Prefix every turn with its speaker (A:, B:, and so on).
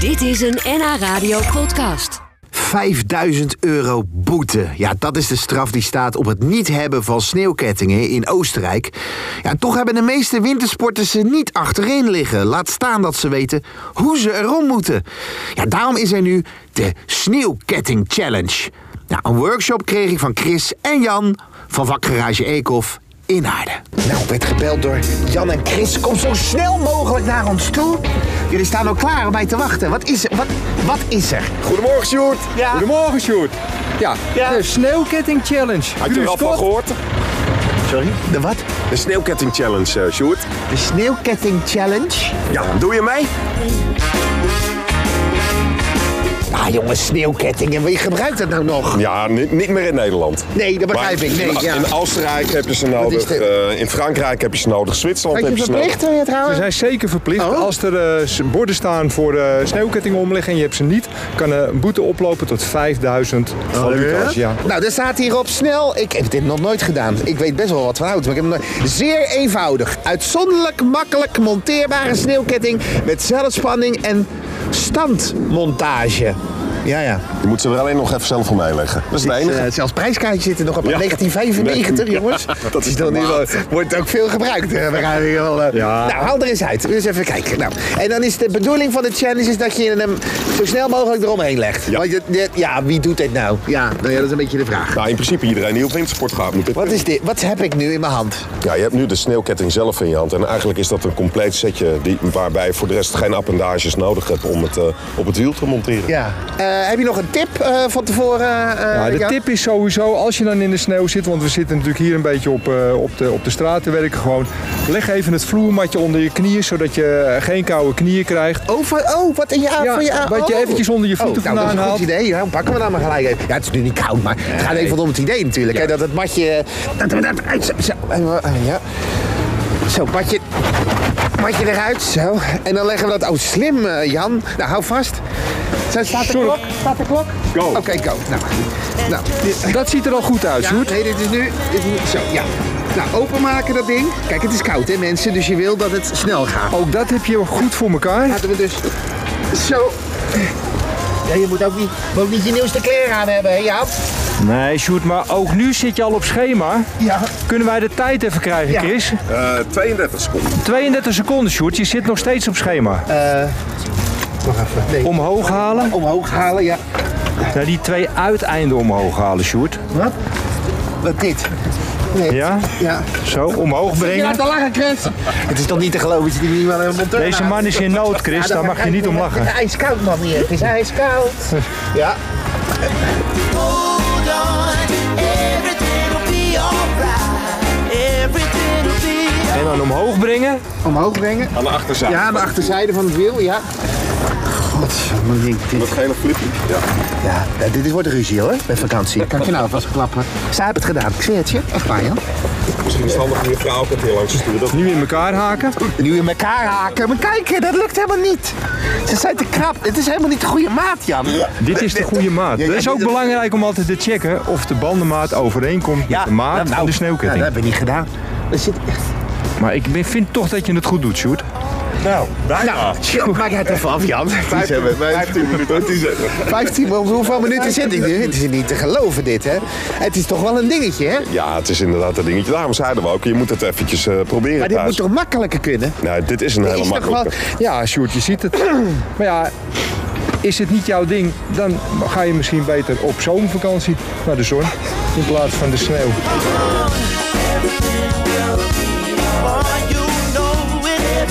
A: Dit is een NH Radio podcast.
B: 5000 euro boete. Ja, dat is de straf die staat op het niet hebben van sneeuwkettingen in Oostenrijk. Ja, en toch hebben de meeste wintersporters ze niet achterin liggen. Laat staan dat ze weten hoe ze erom moeten. Ja, daarom is er nu de Sneeuwketting Challenge. Nou, een workshop kreeg ik van Chris en Jan van vakgarage Eekhof in Aarden. Nou, werd gebeld door Jan en Chris. Kom zo snel mogelijk naar ons toe. Jullie staan al klaar om mij te wachten. Wat is er? Wat, wat is er?
C: Goedemorgen, Sjoerd.
D: Ja.
C: Goedemorgen, Sjoerd. Ja,
D: Ja.
C: de sneeuwketting challenge.
E: Had je er al van gehoord?
B: Sorry? De wat?
E: De sneeuwketting challenge, eh, Sjoerd.
B: De sneeuwketting challenge?
E: Ja, doe je mee?
B: Ah jongens, sneeuwkettingen. Wie gebruikt dat nou nog?
E: Ja, ni- niet meer in Nederland.
B: Nee, dat begrijp
E: Maar
B: ik. Nee,
E: in-
B: ja.
E: In Oostenrijk heb je ze
B: is
E: nodig.
B: dit?
E: eh, in Frankrijk heb je ze nodig. Zwitserland
B: Had
E: heb
B: je
E: je ze nodig.
B: verplicht hè,
C: Ze
B: trouwens?
C: zijn zeker verplicht.
B: Oh.
C: Als er eh, s- borden staan voor de sneeuwketting omleggen en je hebt ze niet, kan eh, een boete oplopen tot 5000
B: Oh,
C: valuta's. Ja.
B: Nou, er staat hierop snel. Ik heb dit nog nooit gedaan. Ik weet best wel wat van hout, maar ik heb hem nooit. Zeer eenvoudig. Uitzonderlijk makkelijk monteerbare sneeuwketting met zelfspanning en standmontage. Ja, ja.
E: Je moet ze er alleen nog even zelf voor meeleggen. Dat is het enige.
B: Eh, zelfs prijskaartjes zitten nog op
E: Ja.
B: 1995,
E: Nee, ja,
B: jongens. Dus
E: dat is de
B: niet
E: maat.
B: wel- Wordt ook veel gebruikt. eh, We gaan hier wel, eh.
C: Ja.
B: Nou, haal er eens uit. Eens even kijken. Nou, en dan is de bedoeling van de challenge is dat je hem zo snel mogelijk eromheen legt. Ja.
E: Ja.
B: Want je, je- ja, wie doet dit nou? Ja, nou ja, dat is een beetje de vraag.
E: Nou, in principe iedereen die op wintersport gaat moet dit
B: Wat is dit? Wat heb ik nu in mijn hand?
E: Ja, je hebt nu de sneeuwketting zelf in je hand. En eigenlijk is dat een compleet setje die, waarbij je voor de rest geen appendages nodig hebt om het eh, op het wiel te monteren.
B: Ja. Eh, heb je nog een tip eh, van tevoren? eh,
C: Ja, de
B: Jan?
C: tip is sowieso, als je dan in de sneeuw zit, want we zitten natuurlijk hier een beetje op, eh, op, de, op de straat te werken gewoon. Leg even het vloermatje onder je knieën, zodat je eh, geen koude knieën krijgt.
B: Oh, van- oh, wat in je aan?
C: Ja,
B: van je aan?
C: wat je
B: oh.
C: eventjes onder je voeten
B: oh, nou, dat is een
C: vandaan
B: goed
C: haalt.
B: idee. Ja, pakken we dan maar gelijk even. Ja, het is nu niet koud, maar het gaat even om het idee natuurlijk. Hè, dat het matje... eh, Dat, dat, dat- uit, zo, zo, eh, eh, ja. zo matje, matje eruit, zo. En dan leggen we dat... Oh, slim, eh, Jan. Nou, hou vast. Zo, staat de klok? Staat de klok?
C: Go.
B: Oké, go. Nou, nou.
C: Dat ziet er al goed uit,
B: Ja,
C: Sjoerd.
B: nee, dit is nu... Dit is nu- zo, ja. Nou, openmaken dat ding. Kijk, het is koud, hè, mensen. Dus je wil dat het snel gaat.
C: Ook dat heb je goed voor elkaar.
B: Laten we dus zo. Ja, je moet ook niet, moet ook niet je nieuwste kleren aan hebben, hè Jaap?
C: Nee, Sjoerd, maar ook nu zit je al op schema.
B: Ja.
C: Kunnen wij de tijd even krijgen,
B: Ja.
C: Chris?
E: Eh, 32 seconden.
C: 32 seconden, Sjoerd. Je zit nog steeds op schema.
B: Nog even. Nee.
C: Omhoog halen.
B: Omhoog halen, ja.
C: Nou, die twee uiteinden omhoog halen, Sjoerd.
B: Wat? Wat dit? Nee.
C: Ja?
B: Ja.
C: Zo, omhoog
B: Je laat
C: brengen.
B: al lachen, Chris. Het is toch niet te geloven dat je die niet wel helemaal terug
C: Deze man is in nood, Chris. Daar mag je niet om lachen.
B: Het is ijskoud, man, hier. Het is ijskoud. ja.
F: hold on, everything'll be alright. Everything'll be alright.
C: En dan omhoog brengen.
B: Omhoog brengen.
E: Aan de achterzijde.
B: Ja, aan de achterzijde van het wiel, ja. God, man, denk ik, dit.
E: Dat gele flipje. Ja.
B: Ja, ja, dit is- wordt ruzie hoor, bij vakantie. Kan ik je nou vast klappen. Zij hebben het gedaan, ik zweer het je. Echt waar, Jan.
E: Misschien is het handig om je vrouw ook een keer langs te sturen. Dat
C: Nu in elkaar haken.
B: Nu in elkaar haken. Maar kijk, dat lukt helemaal niet. Ze zijn te krap. Het is helemaal niet de goede maat, Jan.
C: Dit is de goede maat. Het is ook belangrijk om altijd te checken of de bandenmaat overeenkomt met de maat van de
B: Ja, Nou, dat
C: sneeuwketting.
B: hebben we niet gedaan. Er zit...
C: Maar ik ben- vind toch dat je het goed doet, Sjoerd.
B: Nou, chill, maak het even af, Jan.
E: 15 minuten.
B: 15, maar hoeveel minuten zit ik nu? Het is niet te geloven, dit, hè? Het is toch wel een dingetje, hè?
E: Ja, het is inderdaad een dingetje. Daarom zeiden we ook, je moet het eventjes eh, proberen
B: Maar dit
E: thuis.
B: moet toch makkelijker kunnen?
E: Nou, dit is een hele
B: is toch
E: makkelijke.
B: wel-
C: Ja, Sjoerd, je ziet het. Maar ja, is het niet jouw ding, dan ga je misschien beter op zomervakantie naar de zon. In plaats van de sneeuw.
F: Boy, you know it.